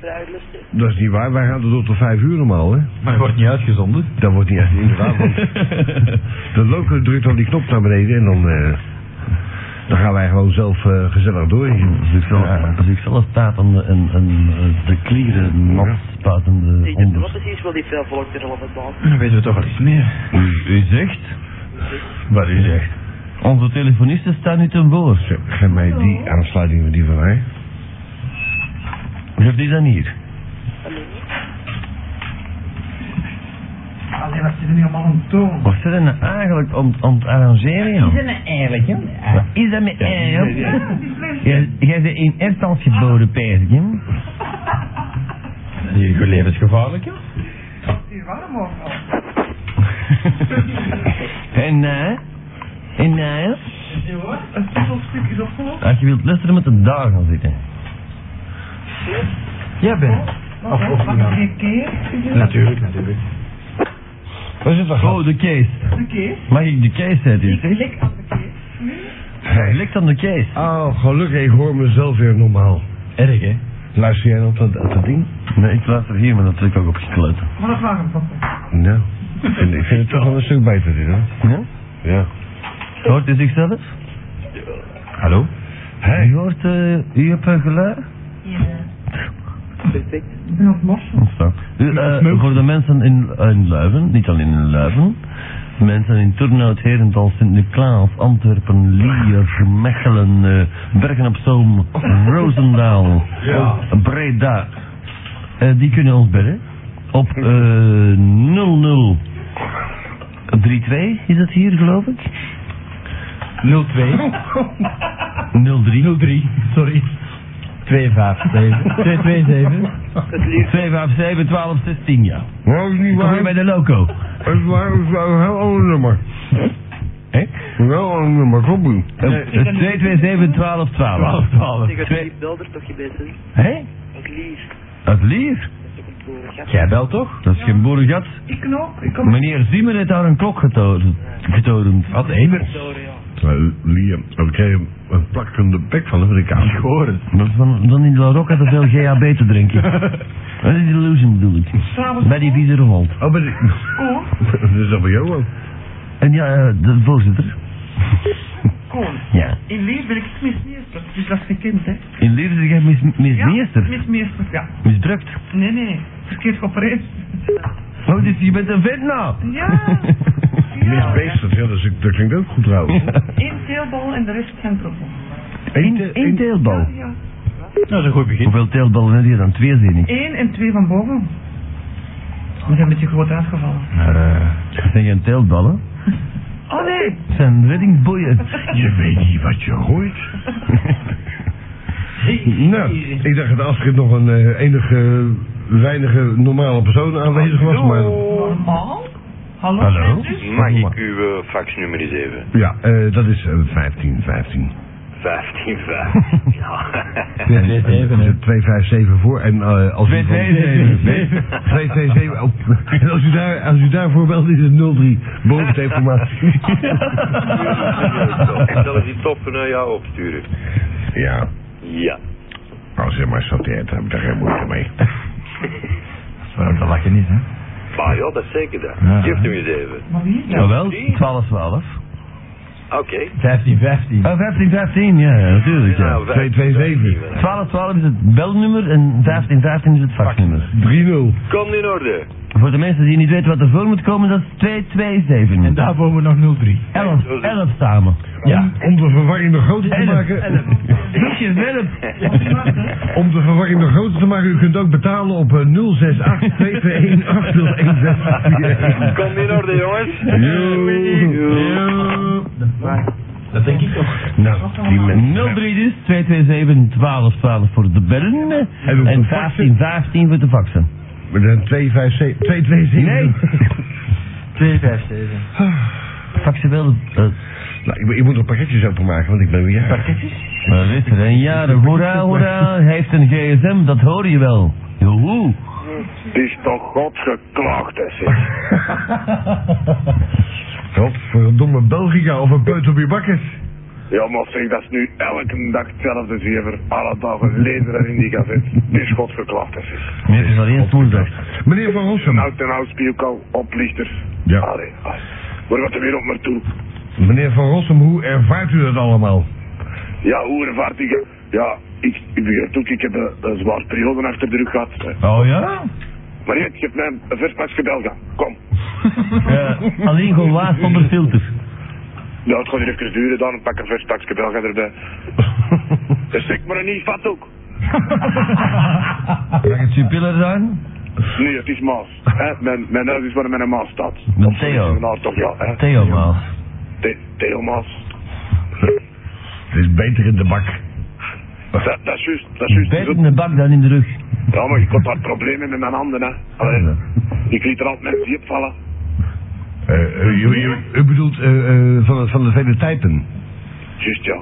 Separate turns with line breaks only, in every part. bruiloften.
Dat is niet waar, wij gaan er tot de vijf uur normaal, hè?
Maar het wordt niet uitgezonden.
Dat wordt niet echt inderdaad, want de local drukt dan die knop naar beneden en dan, eh, dan gaan wij gewoon zelf eh, gezellig door.
Als ik zelf,
Ja.
als ik zelf staat en, en, en eh, de klieren nat spuitende
Ik weet wel
onder.
precies wel die veel volk er al op het baan.
Dan weten we toch al iets meer.
U, u zegt?
Wat u zegt.
Onze telefonisten staan nu ten boord.
Zeg, Geef mij die aansluiting met die van mij.
Geef die dan hier.
Alleen wat zitten nu allemaal een toon.
Wat zijn nou eigenlijk om, om het arrangeren, nou joh?
een eigenlijk, hè?
Wat is dat met mij, joh? Jij- Jij bent in eerstans geboren, pijs ik, hè?
Die levensgevaarlijk, ja?
Die warm ook al.
En eh? En eh?
Die hoor, het puzzelstuk is opgelost.
Als je wilt luisteren met de daar gaan zitten.
Ja, Ben. Of, of
Wat
iemand.
een keer,
Natuurlijk, natuurlijk.
Waar zit dat? Oh, de kees.
de keer.
Mag ik de kees zetten? Hm?
Ik lik aan de keer.
Hij Ligt aan de kees.
Oh, gelukkig, ik hoor mezelf weer normaal.
Erg, hè?
Luister jij op dat, op dat ding?
Nee, ik luister hier, maar dat trek ik ook op gekleut.
Maar dat waren papa.
Nou, ik vind- ik vind het toch wel een stuk beter dit, hoor.
Ja?
Ja.
Hoort u zichzelf?
Hallo?
U hoort, eh, u hebt een geluid?
Perfect.
Ik ben aan het morsen.
Zo. U, eh, voor de mensen in, in Leuven, niet alleen in Leuven, mensen in Turnhout, Herentals, Sint-Niklaas, Antwerpen, Lier, Mechelen, eh, Bergen op Zoom, Roosendaal,
Ja.
Breda, eh, die kunnen ons bellen op eh 0032 is dat hier geloof ik?
02.
03
03, sorry. 257. 227.
Het liefst
257 1216 ja.
Nou, is niet
Kom hier
waar.
bij de loco.
Dat is waar, dat is wel een heel ander nummer.
Hè?
Een heel ander nummer, kom nu.
Eh, 227 1212.
12.
Ik had lief wel er toch je beste.
Hé?
Het liefst.
Het lier?
Dat is toch een boer. Ja.
Jij belt toch?
Dat is geen boerengat.
Ik knoop, ik kom.
Meneer Zimmer heeft daar een klok getorend. getorend.
Wat ever.
Sorry, ja.
Nou, Liam, dan krijg je een plakkende bek van hem, de
Ik
kamer.
hoor het.
Dat is van, dan in La Rocca te veel GHB te drinken. Dat is illusion bedoel ik.
S'avonds
Bij die vieze revolt.
Oh, maar die-
Koon,
dat is dat bij jou ook.
En ja, eh, de voorzitter.
Koon.
Ja.
In Leer ben ik het mismeester. Dus dat is gekend, hè?
In liefde jij mis,
Ja,
mismeester.
Mismeester, ja.
Misdrukt.
Nee, nee. Verkeerd geopereerd.
Oh, dus je bent een vet nou.
Ja.
Miss
ja.
Beestert, ja, dat, is, dat klinkt ook goed trouwens.
Eén teelbal en de rest geen koppel.
Eén één teelbal.
Ja.
Dat is een goed begin.
Hoeveel teelballen heb je dan? Twee zin ik.
Eén en twee van boven. We zijn een beetje groot uitgevallen.
Maar, eh,
Dat zijn geen teelballen.
Oh nee!
Dat zijn reddingboeien.
Je weet niet wat je hoort. nou, ik dacht dat Astrid nog een eh, enige, weinige normale persoon aanwezig was, maar...
Normaal? Hallo?
Hallo?
mensen?
Mag ik uw eh, faxnummer eens even?
Ja, eh, dat is eh, 15, 15.
15, Ja.
Ja, dit
En, eh,
even, hè.
er zit 257 voor en eh, als u... van-
227.
227. op- Oh, En als u, daar, als u daarvoor belt is het 03. Beroepsdeformatie.
Ik zal het die toppen naar jou opsturen.
ja,
Ja.
als je Nou, maar sorteert, heb ik daar geen moeite mee. Nou,
Waarom dat lachen niet, hè?
Maar ja, dat is zeker dat.
Ja.
Geef hem eens even.
Maar wie is dat?
Jawel, 12-12.
Oké.
15, 15.
Oh, 15-15, ja, ja, natuurlijk ja.
Nou,
Nou,
227.
1212 is het belnummer en 1515 is het vaknummer.
3-0.
Komt in orde.
Voor de mensen die niet weten wat ervoor moet komen, dat is 227.
En daarvoor we nog 03.
11, 11 samen.
Ja.
Om de verwarring nog groter te
Elf,
maken.
Doekjes werp.
Om de verwarring nog groter te maken, u kunt ook betalen op eh, 068 221
Komt in orde, jongens.
Dat denk ik toch.
Nou, die mensen.
03 dus, 227 1212 voor de bellen
En
en
de faxen?
1515 voor de faxen.
Met een 257. 227.
Nee.
257.
Faxen wel, eh,
Nou, ik, moet- ik moet nog pakketjes openmaken, want ik ben weer jarig.
maar Nou, weet je, een jaren, hoera, hoera, hij heeft een gsm, dat hoor je wel. Joehoe.
Het is toch godsgeklaagd, hè, zeg.
Wat voor een domme Belgica of een peut op je bakkes.
Ja, maar zeg, dat is nu elke dag hetzelfde zever. Alle dagen lezen er in die gazet. Het is godverklapt, dat is.
Meer is alleen woensdag.
Meneer Van Rossum.
Nou, ten oud spielkal, oplichters.
Ja.
Allee, allee. Waar gaat de wereld naartoe?
Meneer Van Rossum, hoe ervaart u dat allemaal?
Ja, hoe ervaart ik? Ja, ik, ik begrijp ook, ik heb een, een zware periode achter de rug gehad.
Oh ja?
Maar nee, je hebt mij een verspas gebeld, ja. Kom.
Eh, alleen gewoon waar zonder filter.
Ja, het gaat hier even duren, dan pak ik een verspas gebeld erbij. Dus ik maar niet vat ook.
Mag het subtieler zijn?
Nee, het is Maas. hè. Mijn, mijn huis is waar mijn Maas staat.
Met Theo.
Nou, toch ja, hè.
Theo Maas.
The- Theo Maas.
Het is beter in de bak.
Dat, dat is juist, dat is juist.
Beter in de bak dan in de rug.
Ja, maar ik had daar problemen met mijn handen, hè. Allee, ik liet er altijd mensen diep vallen.
Eh, eh, u, u- u bedoelt eh, eh, van, de- van de vele tijden.
Juist, ja.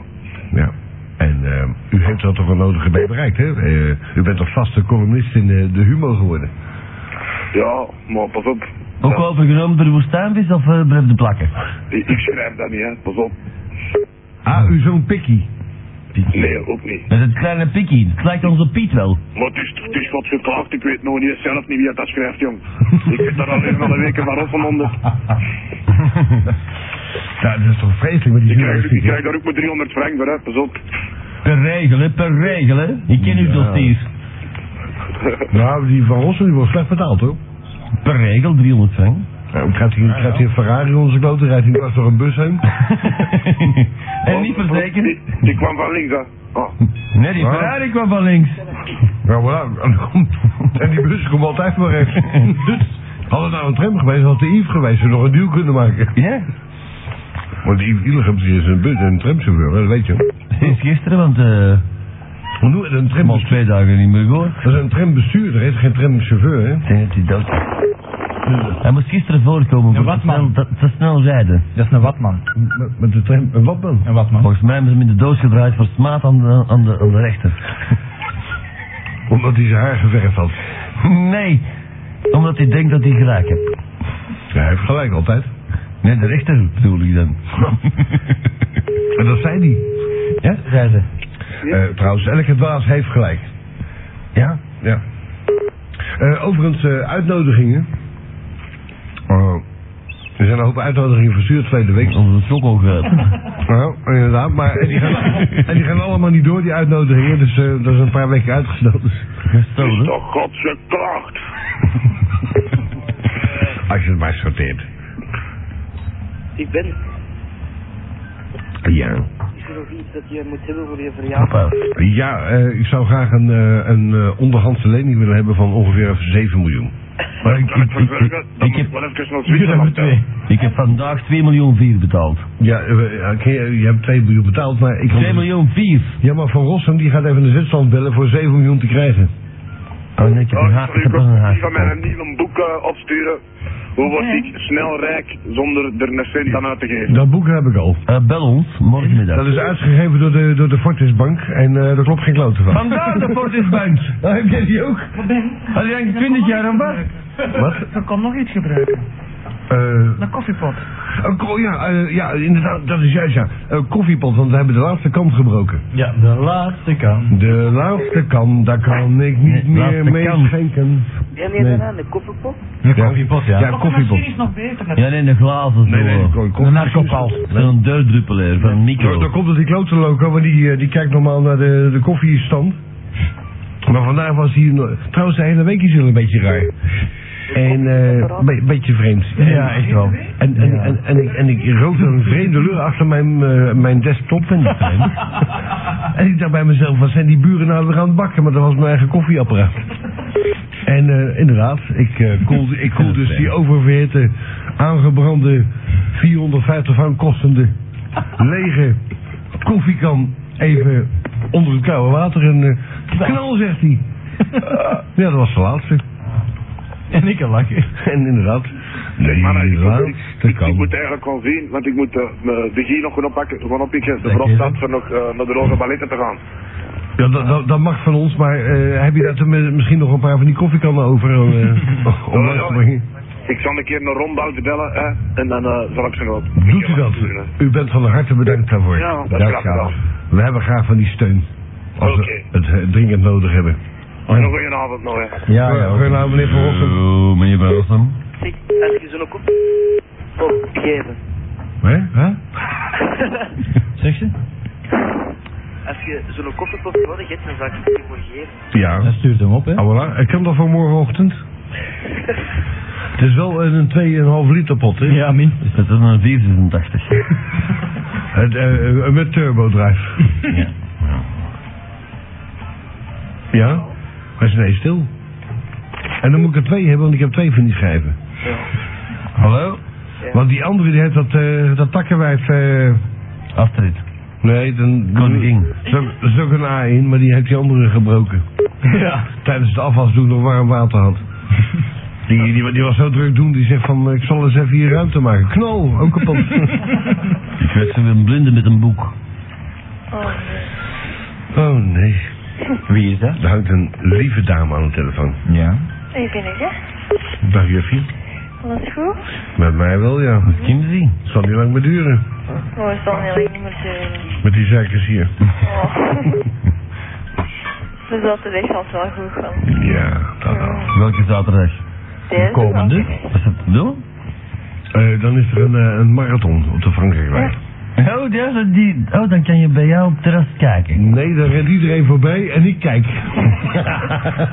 Ja. En eh, u heeft dat toch wel nodige mee bereikt, hè? Eh, u bent toch vaste columnist in eh, de Humo geworden?
Ja, maar pas op.
Ook overgenomen door de woestijnvis of eh blijft de plakken?
Ik, ik schrijf dat niet, hè. Pas op.
Ah, u zo'n pikkie.
Nee, ook niet.
Met het kleine pikkie. Het lijkt onze Piet wel.
Maar het is, het is wat geklaagd, ik weet nog niet zelf niet wie dat schrijft, jong. Ik zit daar alleen al een week van af van onder.
Ja, dat is toch vreselijk met die
Ik krijg, ik
humoristiek, hè?
krijg daar ook maar 300 frank voor, hè. Pas op.
Per regel, hè, per regel, hè. Ik ken uw
Ja.
dossier.
Nou, die Van Rossum die wordt slecht betaald, hoor.
Per regel, 300 frank.
Nou, krijgt hier, krijgt hier Ferrari onder zijn kloten, rijdt hij pas door een bus heen.
en niet verzekerd?
Die, die kwam van links, hè. Ah,
Nee, die
Wat?
Ferrari kwam van links.
Ja, voilà. En, Nou, dan komt- en die bus komt altijd maar rechts. Had het nou een tram geweest, had de Yves geweest er nog een deal kunnen maken.
Ja.
Want Yves Illegem is een, bus, een tramchauffeur, hè, dat weet je.
Sinds gisteren, want eh...
Want Oh. hoe een
Ik heb al
tram...
twee dagen niet meer gehoord.
Dat is een trambestuurder, hè, is geen tramchauffeur, hè.
Ik denk dat hij dood Hm. Hij moest gisteren voorkomen
Een
voor te snel,
watman.
te, te snel rijden.
Dat is een watman.
Met, met de tram... En wat dan?
Een watman.
Volgens mij hebben ze hem in de doos gedraaid voor smaad aan de, aan de, aan de rechter.
Omdat hij zijn haar geverfd had.
Nee, omdat hij denkt dat hij gelijk heeft.
Ja, hij heeft gelijk altijd.
Nee, de rechter bedoel ik dan.
En dat zei hij.
Ja, zei ze.
Eh, trouwens, elke dwaas heeft gelijk.
Ja?
Ja. Eh, overigens, eh, uitnodigingen. Eh, er zijn een hoop uitnodigingen verstuurd verleden week.
Onze slok ook eh. uit.
Nou, inderdaad, maar en die, gaan, en die gaan allemaal niet door, die uitnodigingen. Dus eh, dat is een paar weken uitgesteld.
het is
Gestolen.
toch godsgeklaagd.
Als je het maar sorteert.
Ik ben.
Ja.
Is er nog iets dat je moet hebben voor je verjaardag?
Papa.
Ja, eh, ik zou graag een, eh, een eh, onderhandse lening willen hebben van ongeveer 7 miljoen.
Maar ik,
Kan ik
ik, ik,
verzorgen?
ik-
Dan
ik
moet ik
heb,
wel even naar
Jullie hebben
Zwitserland. hè.
twee.
ik heb vandaag 2 miljoen 4 betaald.
Ja, eh, oké, je hebt 2 miljoen betaald, maar ik...
2 miljoen 4?
Ja, maar Van Rossum die gaat even de Zwitserland bellen voor 7 miljoen te krijgen.
Oh nee, ik heb een
Oh,
haast. Ik
sorry,
heb
ik
pas een
kan
haast.
niet van mijn nieuwe boek eh, opsturen. Hoe word ik snel rijk zonder er een cent aan uit te geven?
Dat boek heb ik al.
Eh, bel ons,
Dat
morgenmiddag.
is uitgegeven door de, door de Fortisbank en eh daar klopt geen klote van.
Vandaag de Fortisbank.
Nou, heb jij die ook?
Als je eigenlijk 20 jaar aan was.
Wat?
Dat kan nog iets gebruiken.
Eh,
Een koffiepot.
eh, ko- ja, eh, ja, inderdaad, dat is juist ja. Eh, koffiepot, want we hebben de laatste kant gebroken.
Ja, de laatste kan.
De laatste kan, daar kan ik niet
Nee,
meer
laatste
mee
kan.
schenken.
Ben je
Nee.
daarna de kofferpot?
Een koffiepot, ja.
Ja,
Nog een machine
koffiepot.
is nog beter. Met
Ja, nee, de glazen zo.
Nee, nee, de ko-
Een
koffie-
narcopal.
Zo'n deurdruppelaar van
Daar daar
micro.
Nou, komt dat die klote loco, want die, eh, die kijkt normaal naar de, de koffiestand. Maar vandaag was hij, no- trouwens de hele week is hij al een beetje raar. En eh, een be- beetje vreemd.
Ja, echt wel.
En, en, en, en, ik, en ik rook een vreemde lucht achter mijn, eh, mijn desktop in die trein. en ik dacht bij mezelf, wat zijn die buren nou weer aan het bakken? Maar dat was mijn eigen koffieapparaat. En eh, inderdaad, ik, eh koel, ik koel dus die oververhitte, aangebrande, 450 van kostende, lege koffiekan even onder het koude water. En eh, knal, zegt hij. ja, dat was de laatste.
En ik een lachen.
En inderdaad. Nee,
Maar ik,
de
moet-
laatste
ik, ik
kan.
moet eigenlijk wel zien, want ik moet eh, me- de G nog gaan oppakken, gewoon oppikken. De
Dank je.
brandstad voor nog eh, naar de Roze Balletten te gaan.
Ja, dat, dat, dat mag van
Oh,
ons, maar eh, heb je daar te- misschien nog een paar van die koffiekannen over eh, om langs te brengen?
Ik zal een keer een rondbouw bellen hè, en dan eh, zal ik ze ook.
Doet u dat? U bent van harte bedankt daarvoor.
Ja, dat
Dank
graag gedaan.
graag. We hebben graag van die steun. Als we
Oké.
het eh, dringend nodig hebben. Oh.
En een goeie avond nog, hè.
Ja, ja.
Goedenavond, meneer Van Rossum.
Hallo, Eh, meneer Van Rossum.
Zeg, heb je zo'n kop? Opgeven.
Hè?
Hè? Zeg je?
Als je zo'n kofferpop nodig hebt, dan zou ik het je voor geven.
Ja.
Hij stuurt hem op, hè?
Ah, voilà. Ik kan dat voor morgenochtend. Het is wel een 2,5 liter pot, hè?
Ja, min.
Dat is een 486.
Het, eh, eh, met turbodrive.
ja.
Ja? Hij is ineens stil. En dan moet ik er twee hebben, want ik heb twee van die schijven.
Hallo?
Want die andere die heeft dat, eh, dat takkenwijf... eh,
Astrid.
nee, dan...
Koningin.
Er is ook een A in, maar die heeft die andere gebroken.
Ja.
Tijdens het afwas doen nog warm water had. Die, die, die was zo druk doen, die zegt van eh, ik zal eens even hier ruimte maken. Knol, ook kapot.
Ik werd zo weer een blinde met een boek.
oh nee.
Wie is dat?
Er hangt een lieve dame aan de telefoon.
Ja.
Ik ben ik, hè?
Dag juffie.
Alles goed?
Met mij wel ja.
Kimsey.
Het zal niet lang meer duren.
Oh, ik zal heel lang niet meer doen.
Met die zeikers hier.
Oh. Dus We zaten echt altijd wel goed van.
Ja, dat wel.
Welke zaterdag?
Deze
komende?
dag.
Wat is dat te doen?
Eh, dan is er een, eh, een marathon op de Frankrijk.
Oh, ja, zo die... oh, dan kan je bij jou op het terras kijken.
Nee, daar rent iedereen voorbij en ik kijk.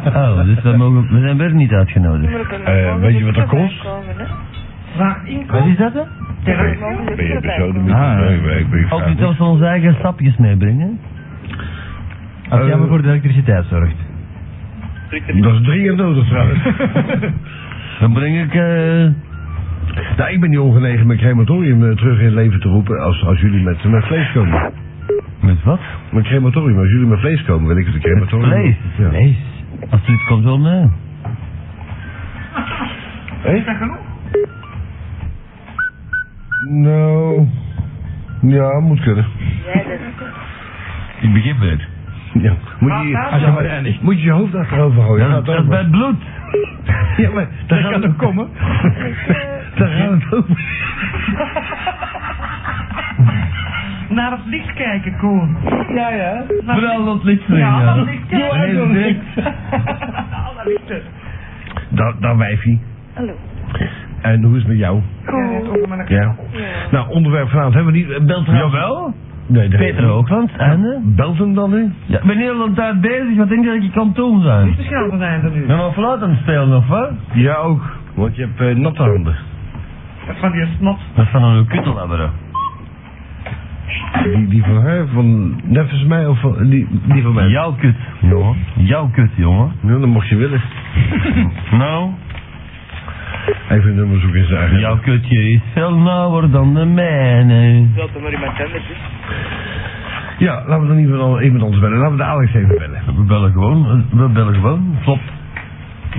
Oh, dus we, mogen... we zijn weer niet uitgenodigd.
Maar ik ben
Eh,
morgen
weet je
moet
wat dat
ik
kost?
erbij komen, hè.
Waar
Wat
inkomen?
is dat, hè?
Ik ben morgen moet ik
Ben je
erbij
bezoden?
komen.
Ah,
nee, maar ik ben
Of niet
graag-
als we onze eigen sapjes meebrengen?
Als jij
Eh.
maar voor de elektriciteit zorgt.
Dat is dringend nodig trouwens.
Dan breng ik... eh,
Nou, ik ben niet ongenegen mijn crematorium eh, terug in het leven te roepen als, als jullie met, met vlees komen.
Met wat?
Mijn crematorium, als jullie met vlees komen, wil ik het een crematorium.
Vlees.
Ja.
Vlees. Als dit komt eh, wel mee.
Is dat genoeg?
Nou, ja, moet kunnen.
Jij bent-
Ik begin het.
Ja. Moet,
Ah,
je,
daar
als je,
dan.
maar eindigt, moet je je hoofd achterover gooien.
Ja, dat is bij het bloed.
Ja, maar daar gaat het ook komen. daar gaat het over.
Naar het licht kijken, Koen. Ja, ja.
Vooral dat licht erin,
Ja,
ja.
dat licht. Ja,
Nee,
dat
direct.
Dat, dat wijfie.
Hallo.
En hoe is het met jou? Ja. Nou, onderwerp vanavond hebben we niet. eh, Belt trouwens-
Jawel.
Nee, dat-
Peter Hoogland. En? eh,
Belt hem dan nu?
Ja, ik ben heel de tijd bezig. Wat denk je dat ik kan doen zijn?
De schade zijn er nu.
Ben al fluit aan het spelen of wat?
Ja, ook. Want je hebt eh, natte handen.
Van die snot.
Dat is van een kuttelabberen.
Die, die van haar, van neffens mij of van, die, die van mij?
Jouw kut, jongen. Jouw kut, jongen.
Ja, dat mocht je willen.
Nou,
Even een nummer zoeken in zijn agenda.
jouw kutje is veel nauwer dan de mijne.
Dat dan maar in mijn tender zit.
Ja, laten we dan iemand, an- iemand anders bellen. Laten we de Alex even bellen.
We bellen gewoon, we bellen gewoon. Flop.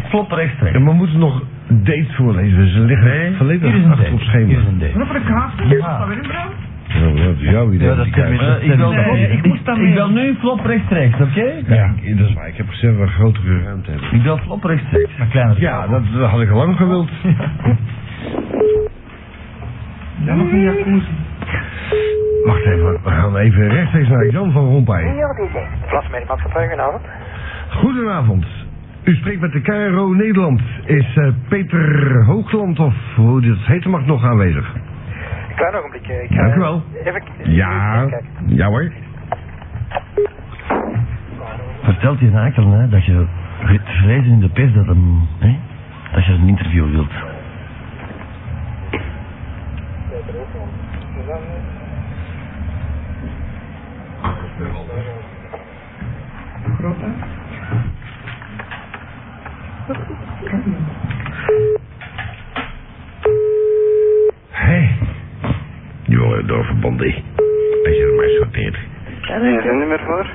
Flop
Ja,
rechtstreeks.
maar we moeten nog dates voorlezen. Ze liggen volledig
Hier is een
achter op
date. Hier
schema.
is een date.
Wat voor de kaas? Is dat weer in brand?
Ja, maar dat is jouw idee.
Ja, dat
die
kan
kijkt.
weer.
Eh, ik, wil
Nee,
flop-
ik moest dan
ik
mee.
wil nu flop rechtstreeks, oké?
Ja, dat is waar. Ik heb gezegd dat we grotere ruimte hebben.
Ik wil flop rechtstreeks.
Maar kleiner.
Ja, dat, dat had ik al lang gewild.
Ja, nog een jacuzzi.
Wacht even, we gaan even rechtstreeks naar Jan van Rompuy.
Vlasmedemaatschappij, goedenavond.
Goedenavond. U spreekt met de KRO Nederland. Is eh, Peter Hoogland of hoe dit heten mag nog aanwezig?
Een klein ogenblik. eh, Ik ga
Dank u wel.
Even even
Ja,
kijken.
ja hoor.
Vertelt je een akel, hè, dat je vrezen in de pers dat hem, hè, dat je een interview wilt.
Hé. Jongen, doorverband die. Als je er maar sorteert.
En hier is een nummer voor.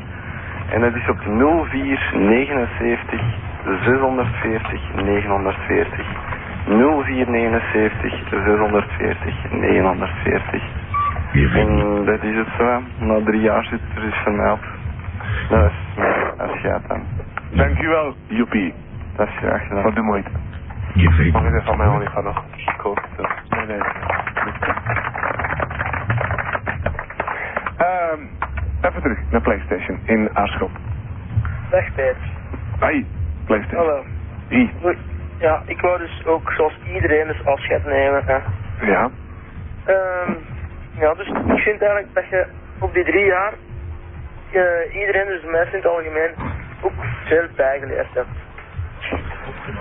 En dat is op 0479 640 940. 0479 640 940.
Je vindt
En dat is het zo. Na drie jaar zit er dus vermeld. Dat is, dat is gaaf dan.
Dankjewel, Joepie.
Dat is graag gedaan.
Wat de moeite.
Je weet
Mag ik
het.
dat van mij al? Ik ga nog koken. Nee, nee.
Ehm, even terug naar PlayStation in Aarschot.
Dag Peter.
Hoi, PlayStation.
Hallo.
Hi.
Hoi. Ja, ik wou dus ook zoals iedereen dus afscheid nemen. Hè.
Ja.
Ehm, ja, dus ik vind eigenlijk dat je op die drie jaar eh, iedereen, dus de mensen in het algemeen, ook veel bijgeleerd hebt.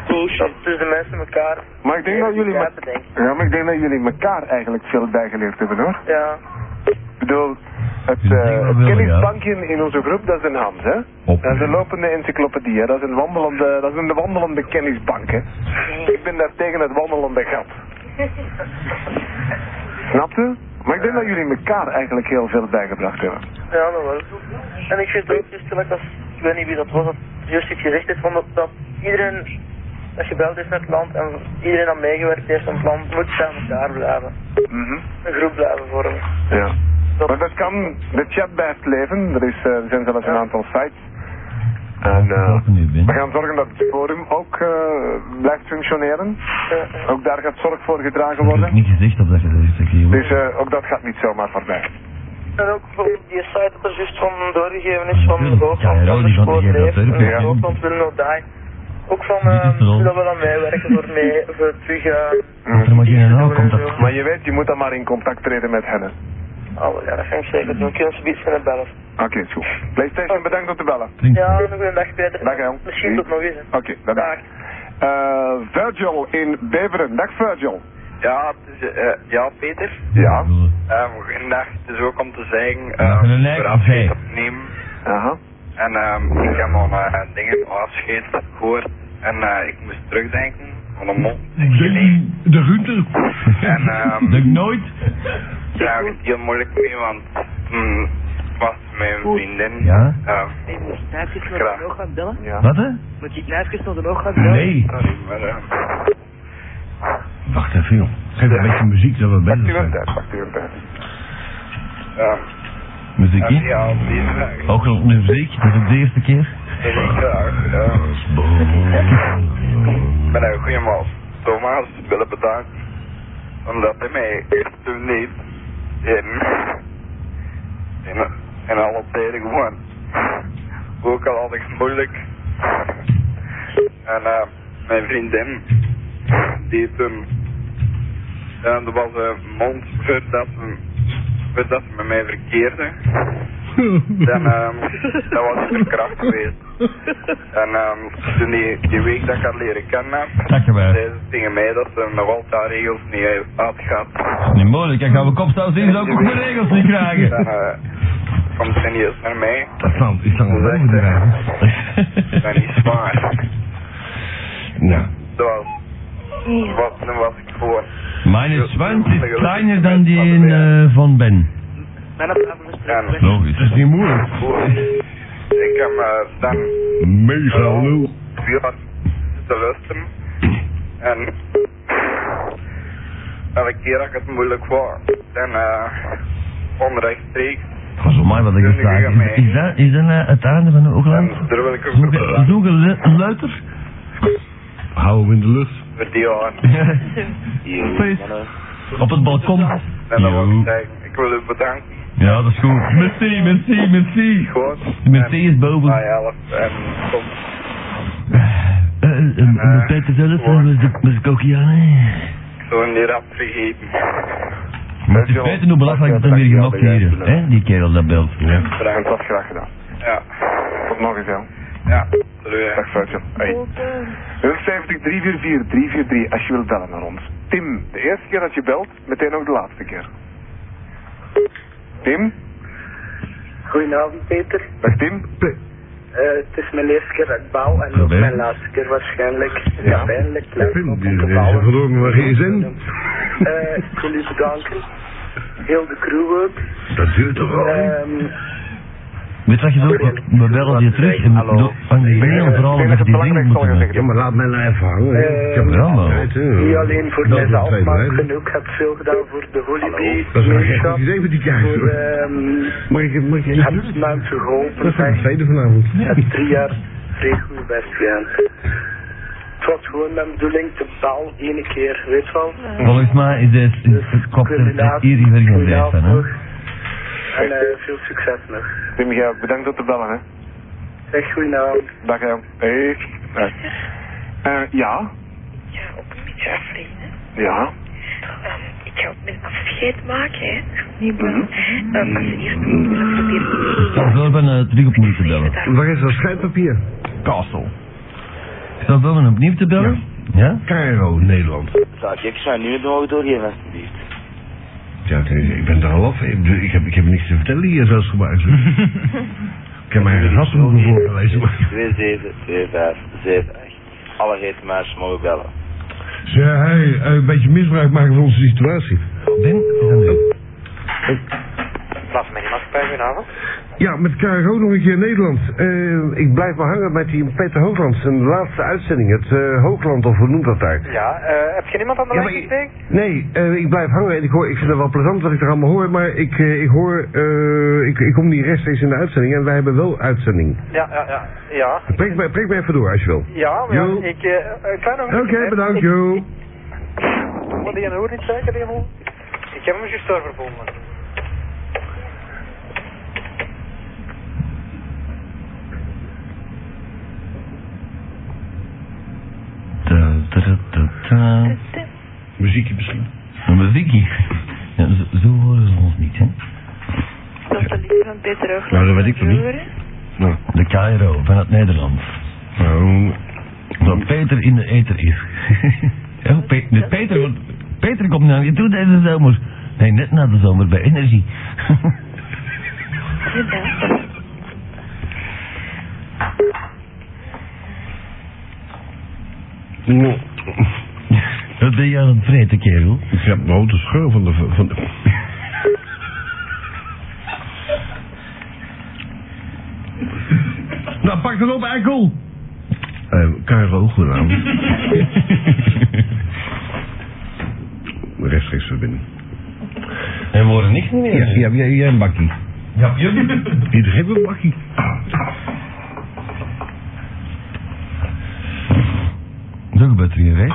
Dat dus de mensen elkaar
Maar ik denk dat jullie... me-
begrijpen, denk ik.
Ja, maar ik denk dat jullie elkaar eigenlijk veel bijgeleerd hebben, hoor.
Ja.
Ik bedoel, het,
Ik denk
eh,
wel
het
wel, ja.
kennisbankje in onze groep, dat is een Hans, hè?
Op.
Dat is een lopende encyclopedie, hè? Dat is een wandelende, dat is een wandelende kennisbank, hè? Ik ben daar tegen het wandelende gat. Snapt u? Maar ik denk dat jullie elkaar eigenlijk heel veel bijgebracht hebben.
Ja, dat wel. En ik vind het ook juist gelijk als, ik weet niet wie dat was, dat juist iets gezegd heeft van dat, dat iedereen dat gebeld is met het land en iedereen dat meegewerkt heeft aan het land, moet bij elkaar blijven.
Mhm.
Een groep blijven vormen.
Ja.
Dat-
Maar dat kan, de chat blijft leven. Er, is, eh, er zijn zelfs een aantal sites. En eh,
Wat ik nu ben.
we gaan zorgen dat het forum ook eh, blijft functioneren.
Eh,
Ook daar gaat zorg voor gedragen
Ik heb
worden.
niet gezegd dat dat gezegd is.
Dus eh, ook dat gaat niet zomaar voorbij.
en ook bijvoorbeeld die site dat er juist van doorgegeven is van
Ja,
Hoogland,
ja, die van
Anderspoor,
die
Leef,
geven dat
ook, ja.
Hoogland wil nog die. Ook van,
Dit is
ehm,
de rol.
dat we aan meewerken voor mee, voor terug, eh,
Als er maar geen naam komt, dat...
Maar je weet, je moet dan maar in contact treden met hen. hè.
oh ja, dat ga ik zeker doen. Kunnen ze iets kunnen bellen.
Oké, is goed. PlayStation, bedankt om te bellen.
Ja, nog een dag Peter.
Dag, Jan.
Misschien tot nog eens. hè.
Oké, dag. dag. Eh, Virgil in Beveren. Dag Virgil.
Ja, het is, eh, ja Peter.
Ja.
Eh, goedendag. Het is ook om te zeggen.
Dat is een
eh
lijk
voor
of hij.
afscheid opnemen.
Aha.
En ehm, ik heb al eh, dingen op afscheid gehoord. En eh, ik moest terugdenken aan een mond.
De, de Gunther.
En ehm,
Denk nooit.
daar heb ik het heel moeilijk mee, want toen was mijn vriendin.
Ja?
eh,
Nee, moet je knijpjes naar de oog gaan bellen?
Wat hè?
Moet je knijpjes naar de oog gaan bellen?
Nee.
sorry, maar eh,
Wacht even, joh. Geef een beetje muziek dat we
Pakt u
bezig
een
zijn.
tijd, pakt u een tijd.
ehm, heb
Muziekje.
je al deze vraag?
Ook al de muziek, dat is de eerste keer.
Heel erg graag. ehm, Ik ben een goede man. Thomas willen bedanken. Omdat hij mij echt toen niet in, in, in alle tijden gewoon. Ook al had ik het moeilijk. En eh, mijn vriendin, die toen. En er was een mond voordat ze, voordat ze met mij verkeerde. Dan, ehm, dat was ik verkracht geweest. En ehm, toen die, die week dat ik haar leren kennen heb,
Dankjewel.
zei ze tegen mij dat ze nog altijd haar regels niet uit had gehad.
Niet moeilijk, ik ga mijn kop staan zien, zou ik ook mijn regels niet krijgen.
En eh, kwam ze niet eens naar mij.
Dat land is dan
Ze
een
zegt,
bedrijf.
eh, dat is niet zwaar.
Nou,
Dat was, was, toen was ik voor.
Mijn zwans is kleiner dan die in, eh, van Ben.
Mijn afgelopen gesprek.
En
dat is
Logisch.
niet moeilijk.
voor, ik heb eh, dan
Mega lul.
vier jaar te luisteren. En elke keer dat ik het moeilijk was, dan eh onrechtstreeks.
Dat is voor mij wat ik gevraagd heb. Is, is dat, is dat eh, het einde van Oogland?
En daar wil ik ook
Zo'n
voor
ge-
bedanken
zo'n gelu- luiter?
Hou hem in de lucht.
voor die jaren.
Feest. Op het balkon.
En dan wil
Yo.
ik zeggen, ik wil u bedanken.
Ja, dat is goed. Merci, merci, merci.
Gewoon.
Merci is boven.
Ah ja, en kom.
Eh, eh, eh,
eh,
Peter zelf,
gewoon.
eh, met de kokianen.
Ik wil hem niet rap vergeten.
Moet je weten hoe belangrijk dat eh. hem weer gemaakt hier, hè? Die kerel dat beeld.
Dat
Bedankt.
was graag gedaan.
Ja.
Tot nog eens, Jan.
Ja. Salut. hè.
Dag Virgil. Hey. 070 344 343 als je wilt bellen naar ons. Tim, de eerste keer dat je belt, meteen ook de laatste keer. Tim?
Goedenavond Peter.
Dag Tim?
Eh, het is mijn eerste keer dat ik bouw en ook
Probeer.
mijn laatste keer waarschijnlijk. Ja,
Ja.
pijnlijk.
Ik
om
vind die
te
deze
bouwen.
verloren maar geen zin.
Eh, ik wil u bedanken. Heel de crew ook.
Dat duurt toch wel. hè?
Ehm,
Weet wat je doet? We bellen je terug en doe- vang die benen vooral
Ik denk
met
dat het
die dingen
belangrijk zal
moeten
gezegd
Ja, maar laat mij nou even hangen. hè. Ik heb
Eh,
wel
ja, maar-
tijd, hè.
niet alleen voor
Dat is een
mezelf,
tweede
maar
lijn.
ik vind ook, ik heb veel gedaan voor de Holy
Dat is wel een goed idee met die kaars.
Voor,
hoor.
ehm,
Mag ik, mag ik
ik
even
heb mensen
Dat
geholpen.
is wel de
echt.
tweede vanavond.
Ik heb drie jaar vrij goed best gedaan. Het was
gewoon mijn bedoeling te bal één keer, weet je wel.
Volgens mij is dit
Dus
Dus
kopter
Inderdaad,
hier die werkt aan
goedenavond
deze, hè.
nog. En eh, veel succes nog.
Tim, ja, bedankt voor te bellen, hè.
Zeg goedenavond.
Dag, hè. Hey. Dag. Eh, ja.
Ja, ook een beetje aflenen.
Ja.
Ehm, ik ga ook mijn afscheid maken, hè. Niet
Mhm.
Ehm, als je eerst willen proberen...
Ik zou bijna eh, terug opnieuw te bellen.
Waar is dat schrijfpapier?
Castle. Ik zou bellen opnieuw te bellen? Ja?
Cairo, Nederland.
Zou ik extra nu het nog doorgeven, alsjeblieft?
Ja, ik ben er al af. Ik, bedoel, ik heb, ik heb niks te vertellen hier, zoals gemaakt. ik heb mijn gastenboeken voorgelezen. maar-
272578. Alle heetmaars mogen bellen.
Zeg, hey, eh, een beetje misbruik maken van onze situatie.
Ben? Is dat nu?
Plaats mij niet maatschappij, goedenavond.
Ja, met KRO nog een keer Nederland. Eh, ik blijf maar hangen met die Peter Hoogland. Zijn laatste uitzending, het eh, Hoogland, of hoe noemt dat daar?
Ja, eh, heb je niemand aan de
Ja,
lijn
maar-
gesteekt?
Nee, eh, ik blijf hangen en ik, hoor, ik vind het wel plezant wat ik er allemaal hoor, maar ik, eh, ik hoor, eh, ik, ik kom niet rechtstreeks in de uitzending en wij hebben wel uitzending.
Ja, ja, ja. Ja,
Prik mij, prik mij even door als je wil.
ja, maar
Jo.
ja, ik eh, ik kan nog
Oké,
niet, hè.
bedankt
Ik-
joh.
Wat die hoort niet zeker, die hoor. Ik heb hem juist daar verbonden.
Ta, ta, ta, ta.
Muziekje misschien.
Een muziekje. Ja, zo, zo horen ze ons niet, hè.
Dat de liefde van Peter ook
Nou, dat weet ik toch niet.
Nou, de Cairo van het Nederland.
Nou,
Dat Peter in de eter is. ja, Pe- dus Peter, wordt- Peter komt naar je toe deze zomer. Nee, net na de zomer bij Energie.
nou,
Wat ben je aan het vreten, kerel?
ik heb nou de scheur van de... Van de... nou, pak het op, eikel! Uh, KRO, goedenavond. Rechtstreeks verbinding.
En worden niks meer.
Ja, ja, jij, jij een bakkie.
ja. ja.
Iedereen heeft een bakkie.
Zo gebeurt er hier, hè?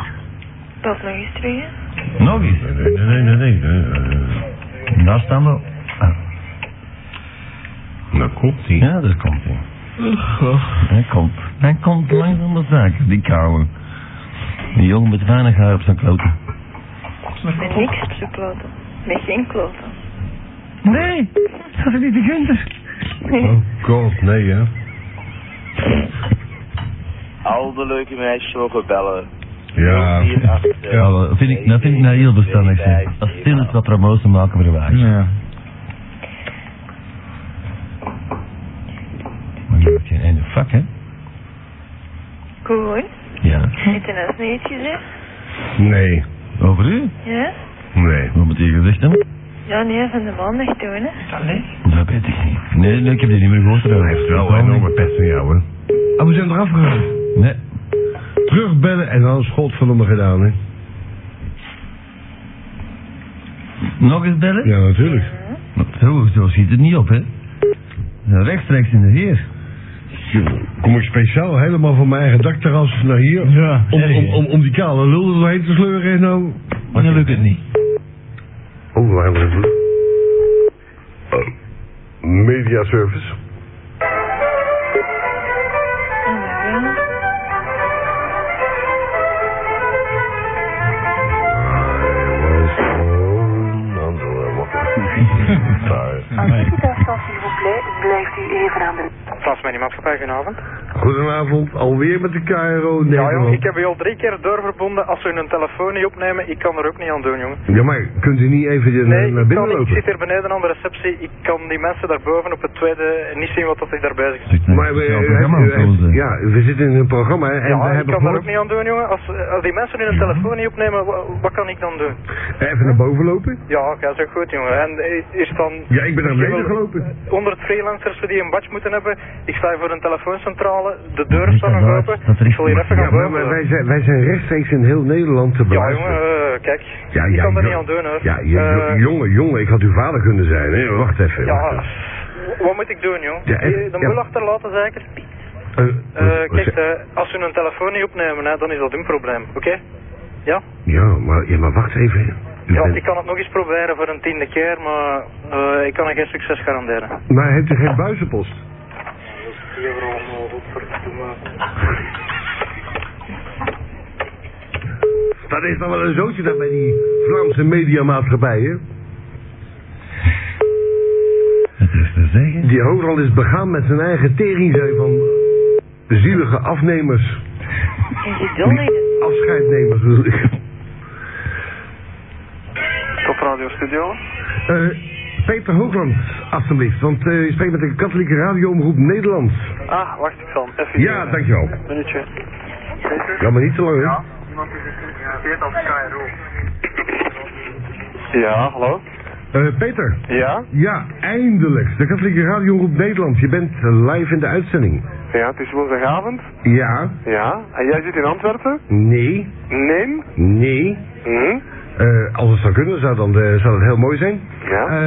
Dat nog eens twee, hè.
Nog eens.
Nee, nee, nee, nee, nee. nee, eh,
En daar staan we. Ah,
nou, komt die.
ja, daar komt hij. Hij komt. Hij komt langzaam de zaak, die koude. Die jongen met weinig haar op zijn kloten.
Met niks op zoek kloten. Met geen kloten.
Nee, dat is niet de Gunther.
Oh god, nee hè.
Al de leuke meisjes mogen bellen.
Ja.
048.
Ja, dat vind ik, dat vind ik nou heel verstandig. zeg. Als stil is wat promotie maken we de wagen.
Ja.
Maar je hebt geen einde vak, hè?
Goed.
Ja.
Heeft hij net niet iets gezegd?
Nee.
Over u?
Ja?
Nee.
Wat moet je gezegd hebben?
Ja, nee, van de maandag toen, hè.
Dat weet ik niet. Nee, nee, ik heb die niet meer gehoord. Oh.
Hij heeft wel een enorme pest van jou hè. Oh, we zijn eraf gegaan.
Nee.
Terugbellen en dan een schot van hem gedaan hè.
Nog eens bellen?
Ja, natuurlijk.
Zo, zo ziet het niet op, hè? Ja, Rechtstreeks in de heer.
Kom ik speciaal helemaal van mijn eigen dakterras naar hier.
Ja,
Om,
erg,
om,
hè?
om, om die kale lul er doorheen te sleuren en nou...
Maar dan lukt het niet.
Oh, waar hebben we Eh, Media service.
Oh my god.
Plaats mij niet maatschappij, goedenavond.
Goedenavond, alweer met de KRO
Ja, jong,
Nederland.
ik heb u al drie keer doorverbonden. Als ze hun telefoon niet opnemen, ik kan er ook niet aan doen, jongen.
Ja, maar kunt u niet even je-
Nee,
naar
ik,
binnen
kan, ik
lopen?
zit hier beneden aan de receptie. Ik kan die mensen daarboven op het tweede niet zien wat dat zich daar bezig is.
Maar we,
Ja,
eh,
programma
eh,
of zo, zeg.
ja, we zitten in een programma en
Ja,
we
ik
hebben
kan daar ook
gehoord...
niet aan doen, jongen. Als, als die mensen hun
Mhm.
telefoon niet opnemen, wa- wat kan ik dan doen?
Even naar boven lopen?
Ja, dat is ook goed, jongen. En eh, is dan...
Ja, ik ben naar
misschien
beneden
wel
gelopen.
100 freelancers die een badge moeten hebben. Ik sta hier voor een telefooncentrale. De deur
Dat
staat
is
nog
waar,
open.
dat is
Ik zal hier even
waar.
Ja,
gaan
maar maar
boven.
wij zijn, wij zijn rechtstreeks in heel Nederland te
Ja,
beluisteren.
jongen, eh, kijk.
Ja,
ik
ja,
kan er
jo-
niet aan doen, hoor.
Ja, je-
Eh,
jo- jongen, jongen, ik had uw vader kunnen zijn, hè. Wacht even.
Ja,
wacht even.
wat moet ik doen, joh? Eh,
Ja, echt,
de
ja.
boel achterlaten, zeker? Eh, kijk, eh, als we een telefoon niet opnemen, hè, dan is dat hun probleem, oké? Ja?
Ja, maar, ja, maar wacht even. U
Ja,
bent-
ik kan het nog eens proberen voor een tiende keer, maar eh, ik kan er geen succes garanderen.
Maar heeft u geen buizenpost? Dat is dan wel een zootje daar bij die Vlaamse mediamaatschappijen. Die Horal is begaan met zijn eigen teringzee van zielige afnemers. Afscheidnemers bedoel ik.
Top Radio Studio.
Eh, Peter Hoogland, alstublieft, want eh je spreekt met de katholieke radioomroep Nederland.
Ah, wacht, ik zal hem even...
Ja,
eh,
dankjewel.
Een minuutje.
Ja, maar niet te lang, hè?
Iemand is geïnteresseerd als KRO. Ja, hallo?
Eh, Peter.
Ja?
Ja, eindelijk. De katholieke radioomroep Nederland. Je bent eh, live in de uitzending.
Ja, het is woensdagavond.
Ja.
Ja. En jij zit in Antwerpen?
Nee.
Nee.
Nee.
Hm?
Eh, als het zou kunnen, zou, dan, eh, zou dat heel mooi zijn. Ja.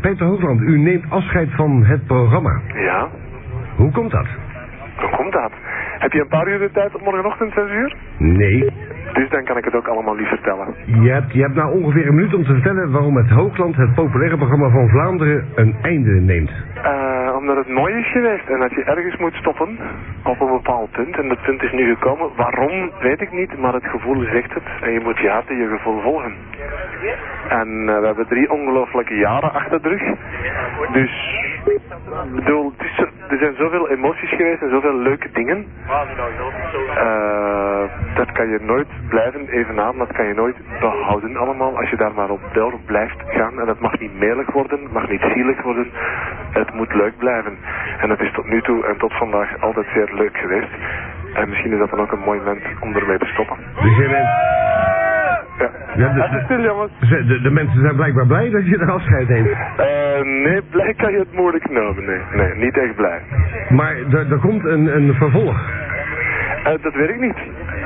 Peter Hoogland, u neemt afscheid van het programma.
Ja.
Hoe komt dat?
Hoe komt dat? Heb je een paar uur de tijd op morgenochtend, 6 uur?
Nee.
Dus dan kan ik het ook allemaal lief vertellen.
Je hebt, je hebt nou ongeveer een minuut om te vertellen waarom het Hoogland, het populaire programma van Vlaanderen, een einde neemt.
Eh, omdat het mooi is geweest en dat je ergens moet stoppen op een bepaald punt. En dat punt is nu gekomen. Waarom, weet ik niet, maar het gevoel zegt het. En je moet je hart en je gevoel volgen. En eh, we hebben drie ongelooflijke jaren achter de rug. Dus, ik bedoel, het is zo- er zijn zoveel emoties geweest en zoveel leuke dingen. Eh, dat kan je nooit blijven evenaren, dat kan je nooit behouden allemaal. Als je daar maar op door blijft gaan. En dat mag niet melig worden, het mag niet zielig worden. Het moet leuk blijven. En dat is tot nu toe en tot vandaag altijd zeer leuk geweest. En misschien is dat dan ook een mooi moment om ermee te stoppen.
Dus je bent... Ja, de, de- ze- de- de mensen zijn blijkbaar blij dat je er afscheid neemt.
Eh, nee, blij kan je het moeilijk nemen. Nee, nee niet echt blij.
Maar er er komt een, een vervolg.
Eh, dat weet ik niet.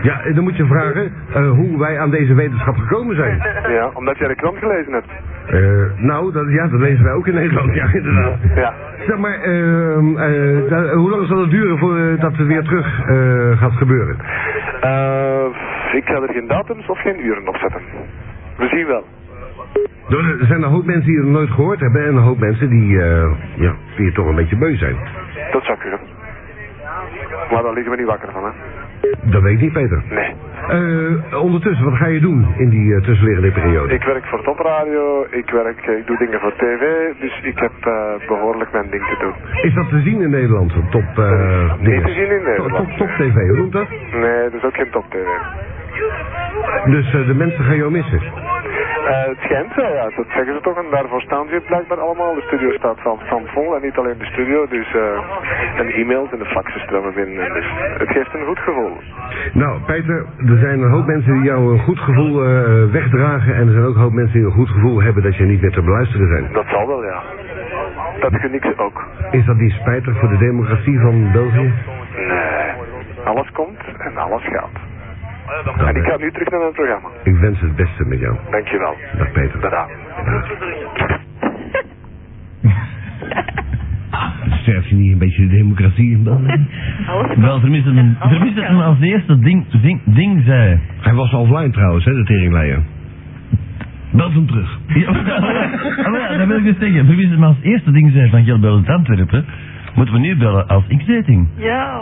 Ja, eh, dan moet je vragen eh, hoe wij aan deze wetenschap gekomen zijn.
Ja, omdat jij de krant gelezen hebt.
Eh, nou, dat, ja, dat lezen wij ook in Nederland, ja, inderdaad.
Ja.
Zeg maar, ehm, eh, da- hoe lang zal het duren voordat het weer terug eh, gaat gebeuren?
Eh, ik ga er geen datums of geen uren op zetten. We zien wel.
Er er zijn een hoop mensen die het nooit gehoord hebben en een hoop mensen die, eh, ja, die het toch een beetje beu zijn.
Dat zou kunnen. Maar daar liggen we niet wakker van, hè?
Dat weet ik niet, Peter.
Nee.
Eh, ondertussen, wat ga je doen in die eh, tussenliggende periode?
Ik werk voor topradio, ik werk, eh, ik doe dingen voor tv, dus ik heb eh, behoorlijk mijn ding te doen.
Is dat te zien in Nederland? Top, eh,
Niet te
dinges?
zien in Nederland.
Top, top TV, hoe noemt dat?
Nee, dat is ook geen top tv.
Dus eh, de mensen gaan jou missen.
Eh, het schijnt wel, ja, dat zeggen ze toch, en daarvoor staan ze hier blijkbaar allemaal. De studio staat van, van vol en niet alleen de studio, dus eh, en de e-mails en de faxen stromen binnen. en Dus het geeft een goed gevoel.
Nou, Peter, er zijn een hoop mensen die jou een goed gevoel eh, wegdragen. En er zijn ook een hoop mensen die een goed gevoel hebben dat je niet meer te beluisteren zijn.
Dat zal wel, ja. Dat geniet ze ook.
Is dat niet spijtig voor de democratie van België?
Nee. Alles komt en alles gaat. En ik ga nu terug naar mijn programma.
Ik wens het beste met jou.
Dankjewel.
Dag Peter.
Tada.
Sterft je niet een beetje de democratie in België? Wel, er mist een, er mist een als eerste ding, ding, ding zei.
Hij was offline trouwens, hè, de teringleier. Bel hem terug.
Ja, maar ja, dat wil ik dus zeggen. Er mist een als eerste ding zei van Gel Bel uit Antwerpen. Moeten we nu bellen als X-dating?
Ja.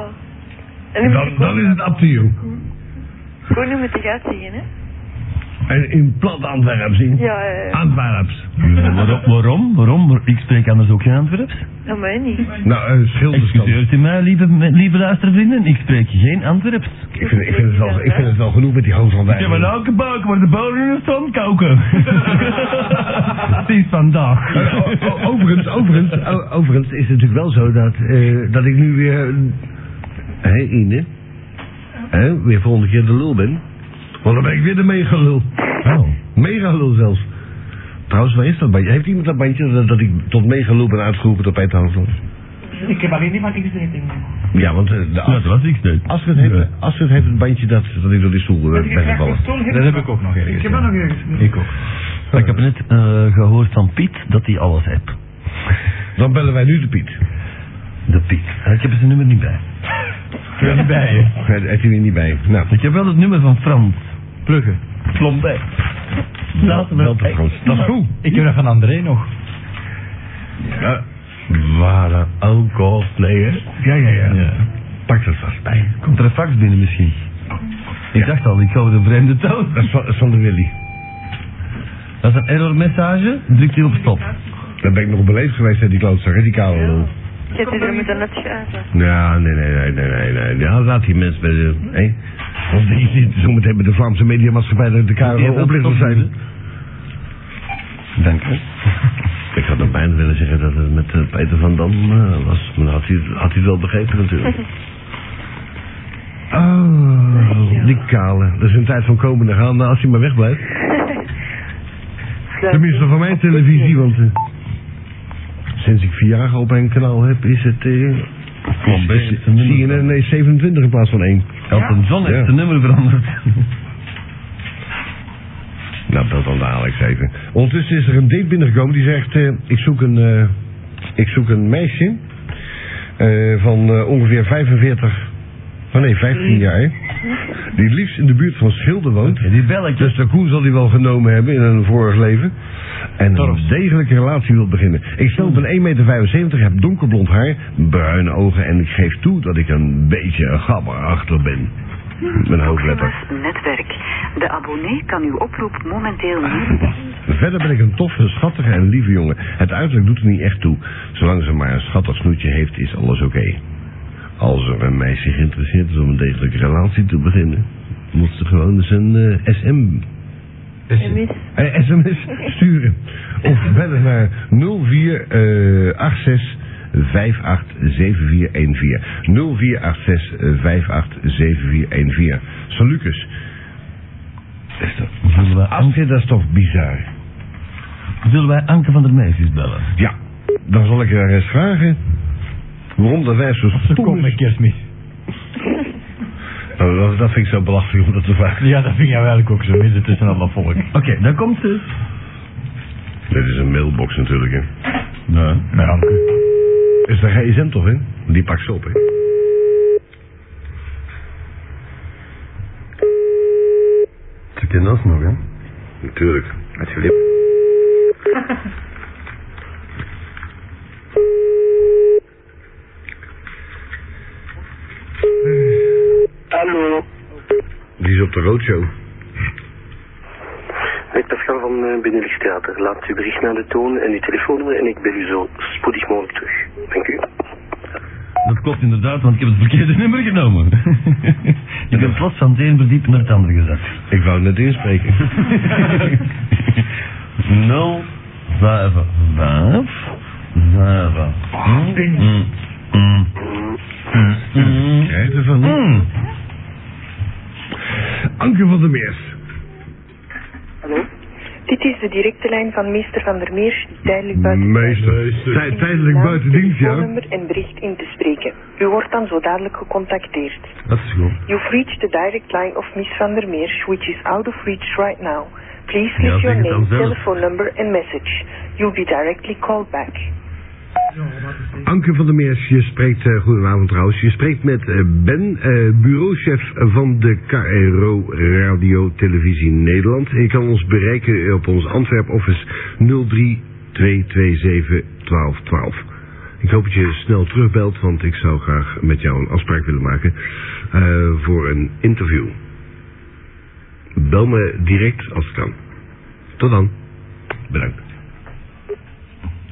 En dan moet ik
is het up to you.
gewoon nu met de gaat zien, hè?
En in plat Antwerps zien.
Ja,
Ah.
eh, ja, ja.
Antwerps.
Waarom, waarom? Waarom? Ik spreek anders ook geen Antwerps.
Dat mag niet.
Nou, uh,
Excuseert u mij, lieve, lieve luistervrienden. Ik spreek geen Antwerps.
Ik vind, ik, vind het wel, ik vind het wel genoeg met die hoofd van
Ik heb een elke buik waar de bodem in stond koken. Het is vandaag.
Overigens, overigens, o- overigens is het natuurlijk wel zo dat, eh, dat ik nu weer, hé Ine, hè, weer volgende keer de lul ben. Want dan ben ik weer de megalul. Oh. Megalul zelfs. Trouwens, waar is dat bandje? Heeft iemand dat bandje dat, dat ik tot megalul ben uitgeroepen door Peter Hoogland?
Ik heb alleen die van X-dating.
Ja, want eh, de, dat was ik niet. Astrid heeft, Astrid heeft het bandje dat, dat ik door die stoel eh, ben gevallen.
ook nog
Ik heb dat nog ergens.
Ik ook.
Ik heb net eh, gehoord van Piet dat hij alles heeft.
Dan bellen wij nu de Piet.
De Piet. Ik heb zijn nummer niet bij.
Ik ben niet bij je.
Heb je weer niet bij. Nou.
Ik heb wel het nummer van Frans.
Pluggen. Plombé. Laten
Dat is goed.
Dat is goed. Ik heb nog een André nog.
Ja. Waren ook al player.
Ja, ja, ja.
Pak dat vast bij. Oh,
Komt er een fax binnen misschien? Ik dacht al, ik hou de vreemde toon.
Dat is van, dat is van de Willy.
Dat is een error message. Drukt hij op stop.
Daar ben ik nog beleefd geweest, hè, die klootzak, hè, die koude lul.
Je hebt er moeten uitschrijven.
Ja, nee, nee, nee, nee, nee, nee. Ja, laat die mensen bij de... Hé? Want die zit zometeen met de Vlaamse mediamaatschappij dat
Die
de
heeft
KRO
dat
oplichters
toch
zijn.
Dank u.
Ik had nog bijna willen zeggen dat het met eh, Peter van Dam eh, was. Maar dan had hij, had hij het wel begrepen natuurlijk. Oh, die kale. Dat is een tijd van komen en gaan, nou, als hij maar wegblijft. Tenminste van mijn televisie, want eh, sinds ik vier jaar op mijn kanaal heb, is het... eh,
Klopt,
is-
best.
CNN, nee, 27 in plaats van 1.
Elton John heeft
Ja.
zijn nummer veranderd.
Nou, dat dan de Alex even. Ondertussen is er een date binnengekomen die zegt: eh, ik, zoek een, eh, ik zoek een meisje eh, van eh, ongeveer 45, oh nee, 15 jaar. Die het liefst in de buurt van Schilde woont.
Die belletje.
Dus de koe zal die wel genomen hebben in een vorig leven. En een degelijke relatie wil beginnen. Ik stel op een 1,75 meter, heb donkerblond haar, bruine ogen en ik geef toe dat ik een beetje een gabberachtig ben. Mijn hoofdletter.
Netwerk. De abonnee kan uw oproep momenteel niet...
Verder ben ik een toffe, schattige en lieve jongen. Het uiterlijk doet er niet echt toe. Zolang ze maar een schattig snoetje heeft, is alles oké. Als er een meisje geïnteresseerd is om een degelijke relatie te beginnen, moet ze gewoon eens een eh, SM. eh, SMS sturen. Of bellen naar 04 eh 86 587414. 0486 587414. Salucus. Is dat?
Zullen wij, Anke,
Anke, dat is toch bizar?
zullen wij Anke van der Meisjes bellen?
Ja, dan zal ik haar eens vragen waarom dat wij zo stom
Kom
is.
met kerstmis.
Nou, dat, dat vind ik zo belachelijk om dat te vragen.
Ja, dat vind jij eigenlijk ook zo. Midden tussen allemaal volk.
Oké, dan komt ze.
Dit is een mailbox natuurlijk, hè.
Nee.
Nee, Anke.
Is dat gsm toch, hè? Die pakt ze op, hè.
Ze kennen ons nog, hè?
Natuurlijk.
Alsjeblieft.
Hallo,
Die is op de roadshow.
ik Pascal van uh, Binnenlichttheater. Laat uw bericht naar de toon en uw telefoonnummer en ik bel u zo spoedig mogelijk terug. Dank u.
Dat klopt inderdaad, want ik heb het verkeerde nummer genomen. ik ben plots van het een verdiep naar het andere gezet.
Ik wou net inspreken.
0, 5, 5, 7. Mm, mm, mm,
Krijg je ervan?
mm.
Anke van der Meers.
Dit is de directe lijn van meester Van der Meers, die tijdelijk buiten
Meester. Tij- Tijdelijk buiten dienst, ja.
telefoonnummer en bericht in te spreken. U wordt dan zo dadelijk gecontacteerd.
Dat is goed.
You've reached the direct line of Miss Van der Meers, which is out of reach right now. Please
Ja,
leave
zeg
your
het dan
name,
zelf.
telephone number and message. You'll be directly called back.
Anke van der Meers, je spreekt, eh, goedenavond trouwens, je spreekt met eh, Ben, eh, bureauchef van de KRO Radio Televisie Nederland. En je kan ons bereiken op ons Antwerp office 032271212. Ik hoop dat je snel terugbelt, want ik zou graag met jou een afspraak willen maken eh, voor een interview. Bel me direct als het kan. Tot dan. Bedankt.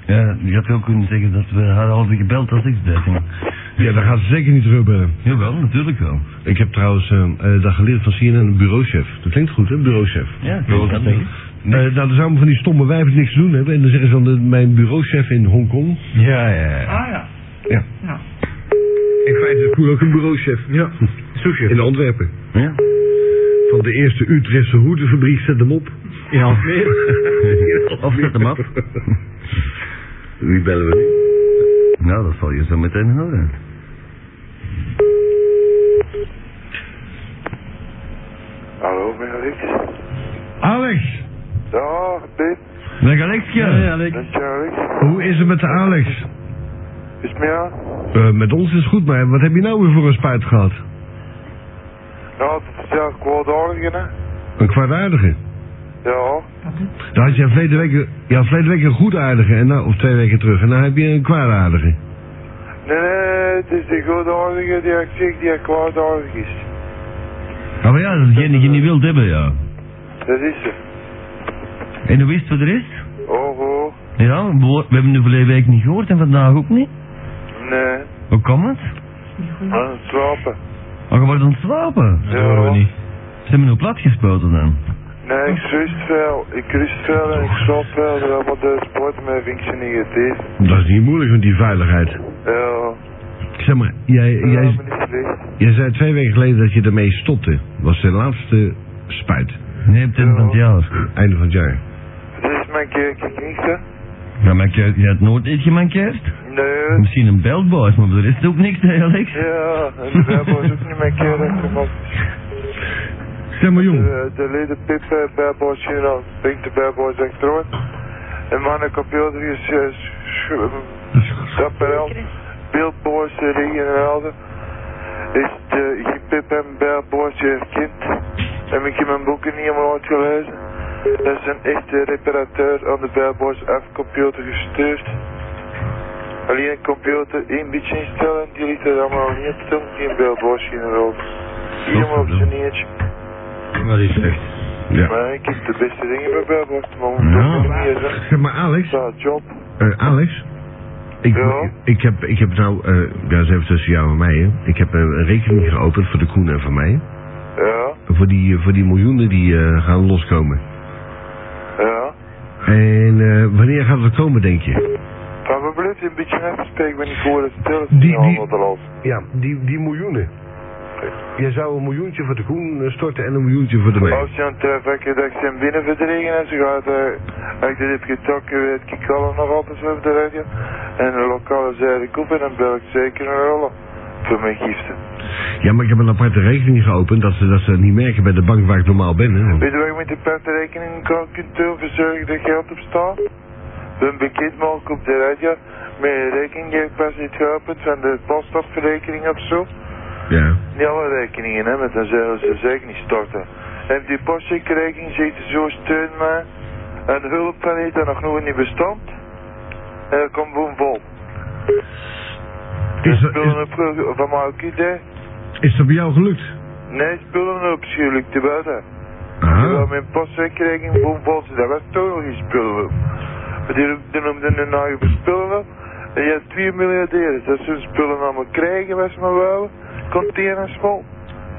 Ja, je had wel kunnen zeggen dat we haar hadden gebeld als ik dat deed.
Ja, dan gaat ze zeker niet terugbellen.
Jawel, natuurlijk wel.
Ik heb trouwens eh eh, dat geleerd van CNN, een bureauchef. Dat klinkt goed, hè, bureauchef.
Ja, ik weet dat niet.
Eh, nou, dat is allemaal van die stomme wijven die niks te doen hebben. En dan zeggen ze dan, eh, mijn bureauchef in Hongkong.
Ja, ja, ja.
Ah ja.
Ja.
Ja.
In feite is Koen ook een bureauchef. Ja. Souschef. In Antwerpen.
Ja.
Van de eerste Utrechtse hoedenfabriek, zet hem op.
In Almere.
Of zet hem af.
Wie bellen we nu?
Nou, dat zal je zo meteen horen.
Hallo, met Alex.
Alex!
Dag, Pete.
Dag Alexje.
Met Alex.
Hoe is het met de Alex?
eh, Is het meer?
Eh, met ons is het goed, maar wat heb je nou weer voor een spuit gehad?
Nou, dat is ja, kwaadaardig, hè?
Een kwaadaardige.
Ja.
Daar had je verleden week, ja, verleden week een goedaardige, en nou, of twee weken terug, en nou heb je een kwaadaardige.
Nee, nee, het is de goedaardige die ik zeg die kwaadaardig is.
Nou maar ja, dat is degene die je niet wilt hebben, ja.
Dat is ze.
En hoe is het voor de rest?
Oh, oh.
Ja, we wo- we hebben de verleden week niet gehoord en vandaag ook niet.
Nee.
Hoe kan het?
Aan het slapen.
Oh, je wordt aan het slapen.
Ja. Dat horen we niet.
Ze hebben nog plat gespoten dan.
Nee, ik rust veel. Ik rust veel en ik slaap veel. Ja, maar de sport mij vind ik ze niet het is.
Dat is niet moeilijk met die veiligheid.
Ja.
Zeg maar, jij,
Ja,
jij,
maar niet slecht.
jij zei twee weken geleden dat je ermee stopte. Was de laatste spuit.
Nee, op het einde van het jaar.
Einde van het jaar.
Dit is mijn kerkje niet, hè?
Ja, maar je, je hebt nooit iets gemankeerd?
Nee.
Misschien een beltboys, maar er is ook niks, hè, Alex?
Ja, en de Bijbel is ook niet mijn kerkje, man.
Zeg maar, jong.
De, de leden Pip eh, Bad Boys Chino, Pink de Bad Boys Electron. En mijn computer is eh, sch- sch- Chaparral, Billboards eh, Ring en Helden. Is de je Pip en Bad Boys eh, kind. Heb ik in mijn boeken niet helemaal uitgelezen. Dat is een echte reparateur aan de Bad Boys F computer gestuurd. Alleen een computer één beetje instellen en die liet het allemaal niet doen in Bad Boys Chino. Helemaal op zijn eentje.
Dat is echt. Ja.
Maar ik heb de beste dingen bij Belbos, maar we doen het niet eens.
Zeg maar, Alex.
Ja, job.
Eh, Alex? Ik, ik, heb, ik heb nou, eh, ja, dat is even tussen jou en mij, hè. Ik heb eh, een rekening geopend voor de Koen en voor mij.
Ja,
Voor die, voor die miljoenen die eh, gaan loskomen.
ja.
En eh, wanneer gaat het komen, denk je?
Maar we blijven een beetje afspreken, want ik hoor het stil.
Die- die-
Wat er loopt.
Ja, die, die miljoenen. Je zou een miljoentje voor de Koen eh, storten en een miljoentje voor de mij.
Als je aan het eh, vakken dat ik zijn binnen verdregen en ze gaat, eh, als ik dit heb getrokken, weet ik al nog altijd zo op de radio. En de lokale zijde koep en dan bel ik zeker een rollen voor mijn giften.
Ja, maar ik heb een aparte rekening geopend dat ze dat ze niet merken bij de bank waar ik normaal ben. Hè. want-
Weet je waar je met die partnerrekening kan- kunt doen, verzorgen dat geld op staat? Een bekend maken op de radio, met een rekening die ik pas niet geopend van de postafrekening of zo.
Ja.
Niet alle rekeningen, hè, want dan zullen ze zeker niet storten. En die postrekening zit zo steun maar. En de hulp van die dat nog nooit niet bestond. En dat komt boem vol.
Is dat,
Spullen op, van mij ook niet, hè?
is dat bij jou gelukt?
Nee, spullen op, schuurlijk te buiten.
Aha.
Ja, mijn postrekening bijvoorbeeld, dat was toch nog geen spullen. Maar die die noemden hun eigen spullen. En je hebt twee miljardairs, dat ze hun spullen allemaal krijgen, was maar wel. Containers vol,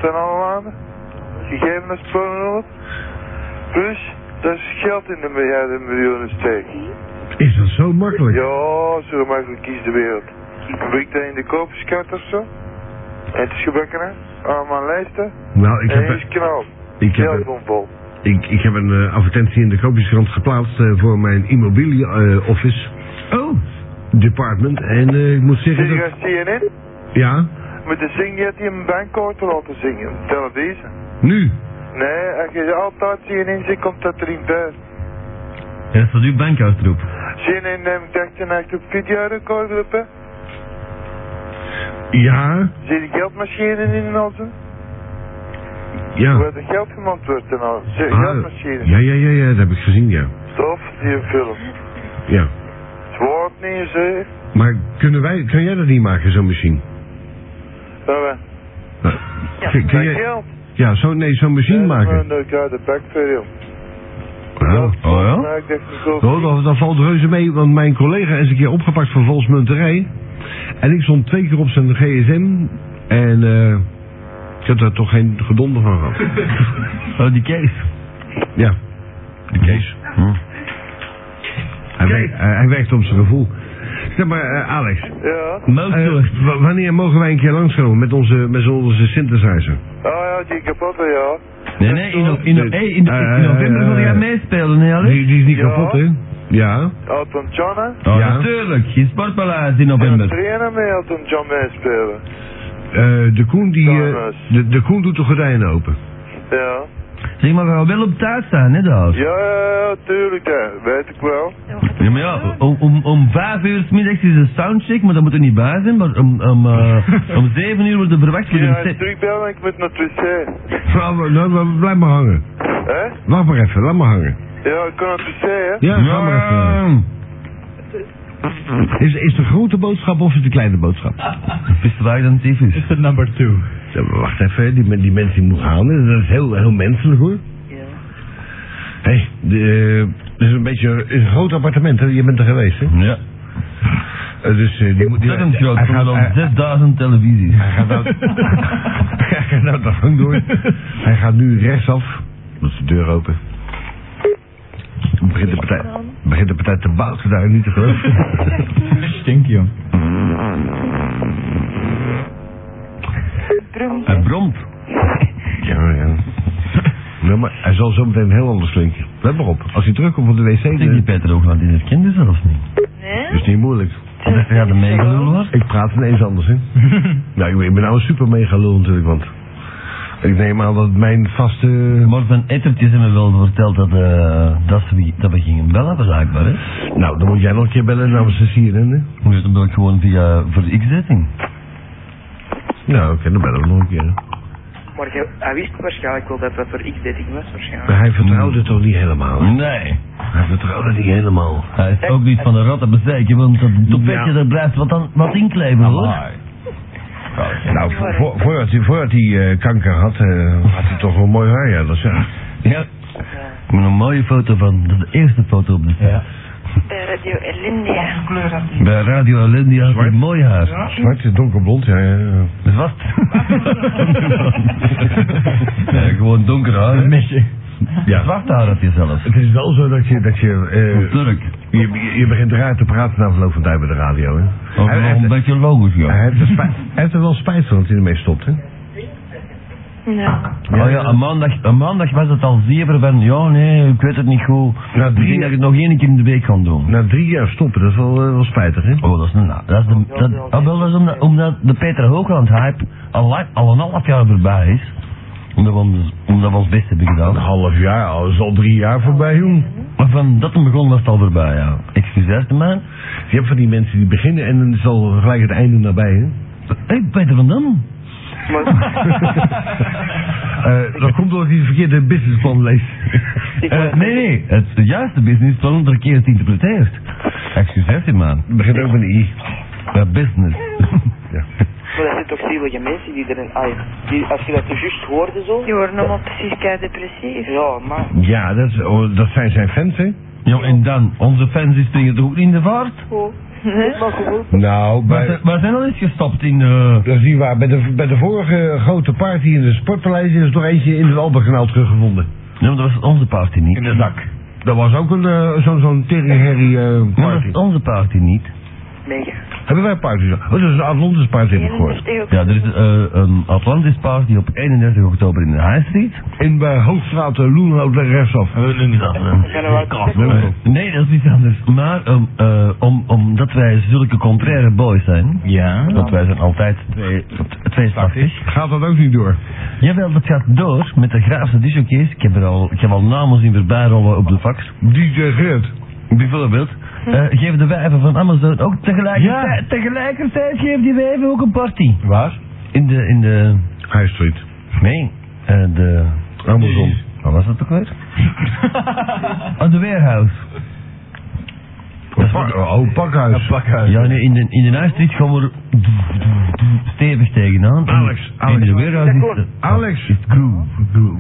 ten alle landen. Gegeven als spullen op. Plus, dat is geld in de miljarden miljoenen steek.
Is dat zo makkelijk?
Ja, zo makkelijk kiest de wereld. Breek dat in de koperskant of zo. En het is gebakken, hè? Allemaal lijsten.
Nou, ik
en
heb,
hier is knal.
ik heb-
Geld komt vol.
ik, ik heb een eh, advertentie in de Koopjeskrant geplaatst eh, voor mijn immobilie eh, office. Oh. Department. En eh, ik moet zeggen
Zie je
dat...
dat CNN?
Ja,
Met de zing die had hij een bankkaart laten zingen, op televisie.
nu.
Nee, als je altijd CNN ziet, komt dat erin bij.
Ja, dat is uw bankhuistroep.
CNN neemt echt een echt op videorecorder op, hè?
Ja,
Zie je geldmachine in de halsen?
ja.
Waar de geld gemaakt wordt en al. Zie je
Ah,
geldmachine?
ja, ja, ja, ja, dat heb ik gezien, ja.
Tof, die film.
ja.
Het woord niet eens, hè?
Maar kunnen wij, kun jij dat niet maken, zo'n machine?
Ja,
Nou, kun, kun jij-
geld.
ja, zo, nee, zo'n machine maken.
Maar ik ga eh, de bak voor jou.
Ja. Oh ja?
Maar ik dacht, ik koop
Oh, dat, dat valt reuze mee, want mijn collega is een keer opgepakt voor valsmunterij. En ik stond twee keer op zijn gsm. En eh ik heb daar toch geen gedonder van gehad.
Oh, die Kees.
Ja, de Kees. Hij, werkt, eh, hij, hij werkt op zijn gevoel. Zeg maar, eh, Alex.
Ja?
eh, wa- wanneer mogen wij een keer langskomen met onze, met onze synthesizer?
Oh ja, die kapotte, ja.
Nee, nee, in, no- in, no- hey, in, in,
Eh,
november wil jij
eh,
meespelen, hè, Alex?
Die, die is niet
Ja.
kapot, hè? Ja.
Elton John, hè?
Oh,
Ja.
natuurlijk. In Sportpaleis in
En
november.
trainen met Elton John meespelen.
Eh, de, Koen die, eh, de, de Koen doet de gordijnen open.
Ja.
Zeg maar, we gaan wel op tijd zijn, hè, daar.
Ja, tuurlijk, hè. weet ik wel.
Ja, maar ja, om, om, om vijf uur 's middags is de soundcheck, maar dat moet er niet bij zijn. Maar om, om, eh, om zeven uur wordt er verwacht voor
Ja,
een set.
terugbellen, ik moet naar het wc.
Nou, nou, nou, blijf maar hangen.
Hè?
Wacht maar even, laat maar hangen.
Ja, ik kan naar het wc, hè?
Ja, ga maar even. Is, is het een grote boodschap of is het een kleine boodschap?
Is het dan tyfus?
Is het number two. Ja, maar wacht even, die, men- die mensen die moet gaan, dat is heel, heel menselijk hoor. Hé, hey, de, eh, het is een beetje het is een groot appartement, hè? je bent er geweest hè?
Ja.
Eh, dus eh, die moet... die-
Ontzettend groot,
hij
voor
gaat-
dan
hij-
6000 televisies.
Hij gaat nou, hij gaat nou de gang door. Hij gaat nu rechtsaf. Dat is de deur open. Dan Begint de partij, begint de partij te bouwen daar niet te geloven.
Stink, joh.
Hij bromt.
Ja, ja. Ja, maar hij zal zo meteen heel anders klinken. Let maar op, als hij terugkomt van de wc...
Zeg die Peter ook, want die herkende ze of niet?
Dat is niet moeilijk.
Ja, de meegelul was.
Ik praat ineens anders, hè? nou, ik ben, ik ben nou een super mega lul natuurlijk, want... Ik neem aan dat mijn vaste...
Maar van Ettert is me wel verteld dat, eh, dat, we, dat we gingen bellen, blijkbaar. Hè?
Nou, dan moet jij nog een keer bellen namens de CNN, hè?
Dus dan bel ik gewoon via voor de X-zetting.
Nou, oké, dan bellen we nog een keer. hè.
Maar jij- hij wist waarschijnlijk wel dat dat voor X-dating was, waarschijnlijk.
Maar hij vertrouwde het toch niet helemaal? hè?
Nee.
Hij vertrouwde het niet helemaal.
Hij is ook niet van de ratten bezeken, want dat topetje er blijft wat, aan- wat inkleven hoor.
Nou, vo- vo- voordat hij, voordat hij eh, kanker had, eh, had hij toch wel mooi haar, ja, dat is ja.
Ja. Met een mooie foto van, dat is de eerste foto op de site.
Bij Radio Elindia. kleur had
Bij Radio Alendia had hij mooi haar.
Zwart, donkerblond, ja, ja. ja.
Wat? nee, gewoon donker haar. Een mesje.
Ja.
Zwart haar had je zelf.
Het is wel zo dat je, dat je, eh,
Turk.
je, je- je begint raar te praten na verloop van tijd bij de radio, hè.
Ook
Hij-
nog
hij-
een beetje logisch, ja.
Hij heeft, er spijt, hij heeft er wel spijt van dat hij ermee stopt, hè?
Ja.
Oh ja, een maandag, een maandag was het al zeven van, ja nee, ik weet het niet goed.
Na
ik denk
drie,
dat ik het nog één keer in de week ga doen.
na drie jaar stoppen, dat is wel, eh, wel spijtig, hè?
Oh, dat is een... na- Dat is de, dat, ah, wel, dat is omdat, omdat de Peter Hoogland hype al, lang- al een half jaar voorbij is. Omdat we, ons- omdat we ons best hebben
Een
gedaan.
half jaar, al is al drie jaar voorbij, jong.
Maar van dat hem begon was het al voorbij, ja. Excuseer te mij.
Je hebt van die mensen die beginnen en dan is al gelijk het einde nabij, hè?
Hé, hey, Peter van Dam.
Eh, dat komt doordat hij het verkeerde businessplan leest.
Eh, nee, nee. Het juiste businessplan verkeerd interpreteert. Excuseer te mij.
Het begint ook met een i.
Ja, business.
Ja.
Maar dat zijn toch zielige mensen die erin... Ah, ja, die, als je dat zo juist hoorde zo...
Die worden allemaal precies kei depressief.
Ja, maar...
Ja, dat, is- oh, dat zijn zijn fans, hè?
Ja, en dan? Onze fans die springen toch ook niet in de vaart?
Nou,
Maar
bij,
ze- maar zijn al eens gestopt in... eh,
dat is niet waar. Bij de, bij de vorige grote party in de sportpaleis is er nog eentje in het Alberganaal teruggevonden.
Ja, maar dat was onze party niet.
de zak. Dat was ook een, eh, zo'n zo'n teringherrie eh,
Ja, dat
party.
is onze party niet.
Hebben wij party? Oh, dat is een Atlantis party, heb ik gehoord.
Ja, er is eh, een Atlantis party op 31 oktober in de High Street.
In bij Hoogstraat uh, Loenhout daar rechtsaf.
Eh, Nee, dat is iets anders. Maar ehm, eh, om, omdat wij zulke contraire boys zijn,
Ja.
want wij zijn altijd twee, twee slachtig.
Gaat dat ook niet door?
Jawel, dat gaat door met de graafse disjockeys. Ik heb er al, ik heb al namen zien voorbij rollen op de fax.
DJ Geert.
Bijvoorbeeld, eh, geven de wijven van Amazon ook tegelijkertijd, tegelijkertijd geven die wijven ook een party.
Waar?
In de, in de,
High Street.
nee, eh, de
Amazon.
Wat was dat ook weer? Aan de warehouse.
Een pak- oh, pakhuis. pakhuis.
Ja, nee, in de, in de High Street gaan we er stevig tegenaan. En-
Alex, Alex.
In de warehouse is de-
Alex.
is het groove. groove.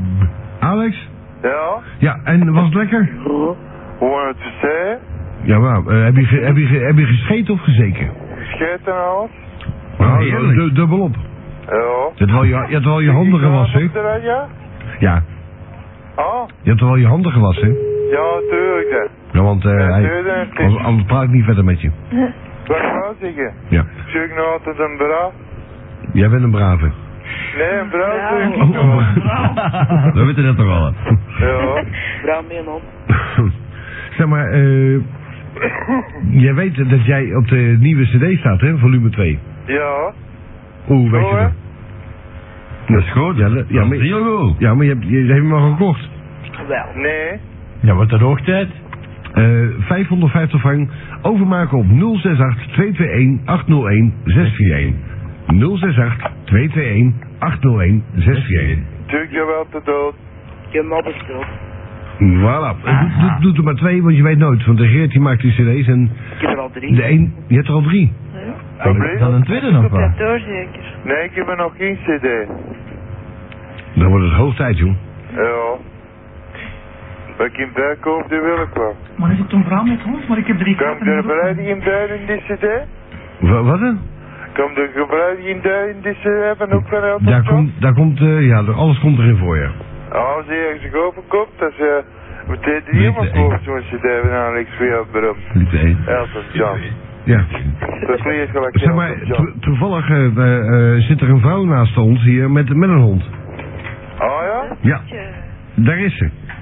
Alex?
Ja?
Ja, en was het lekker?
Hoe aan het wc?
Ja, maar eh, heb, je, ge- heb, je, ge- heb je gescheten of gezeken?
Scheet en alles?
Nou, du- dubbel op.
Ja.
Je had wel je, je, had wel je handen gewassen, hè?
Op de radio?
Ja,
Ah?
je had wel je handen gewassen, hè?
Ja, tuurlijk, hè.
Ja, want eh,
Ja,
hij,
tuurlijk, het is-
anders, anders praat ik niet verder met je.
Wat wou zeggen?
Ja.
Zeg ik nou altijd een bra?
Jij bent een brave.
Nee, een bra zeg ik
Oh,
niet, hoor.
We weten dat toch al. hè.
Ja.
Bra mee, man.
zeg maar, eh. jij weet dat jij op de nieuwe cd staat, Oh, hè? Volume 2.
Ja.
Hoe weet
Zo,
je
hè?
dat? Dat is goed. Ja, dat- ja, maar, Ja, maar je hebt, je, je hebt hem al gekocht.
Wel. Nee.
Ja, wat dat hoog tijd. 550 frank Eh, overmaken op 068 221 801 641. 068 221 801 641.
Tuurlijk jawel te dood. Je mob is dood.
Voilà. Eh, Doe, doe, doe er maar twee, want je weet nooit. Want de Geert die maakt die cd's en...
Ik heb er al drie.
De een, je hebt er al drie.
Dan,
een tweede nog wel.
Door zeker.
Nee, ik heb er nog geen cd.
Dan wordt het hoog tijd, joh.
Ja. Ben ik in Berkhof, die wil ik wel.
Maar is het een verhaal met ons? Maar ik heb drie
Kan
kaarten.
de gebruiken in duiden die cd?
Wa- wat dan?
Kan de gebruiken in duiden die cd van ook van Elton
Daar
John?
komt, daar komt eh, ja, er- alles komt erin voor je.
Als je ergens overkomt, dan eh, ze meteen die iemand koopt zo'n cd van Alex Fiat Brum. Elton John.
Ja.
Dat vlieg gelijk
Zeg maar,
Elton John.
to- toevallig eh, eh, eh, zit er een vrouw naast ons hier met, met een hond.
Oh ja?
Ja, daar is ze.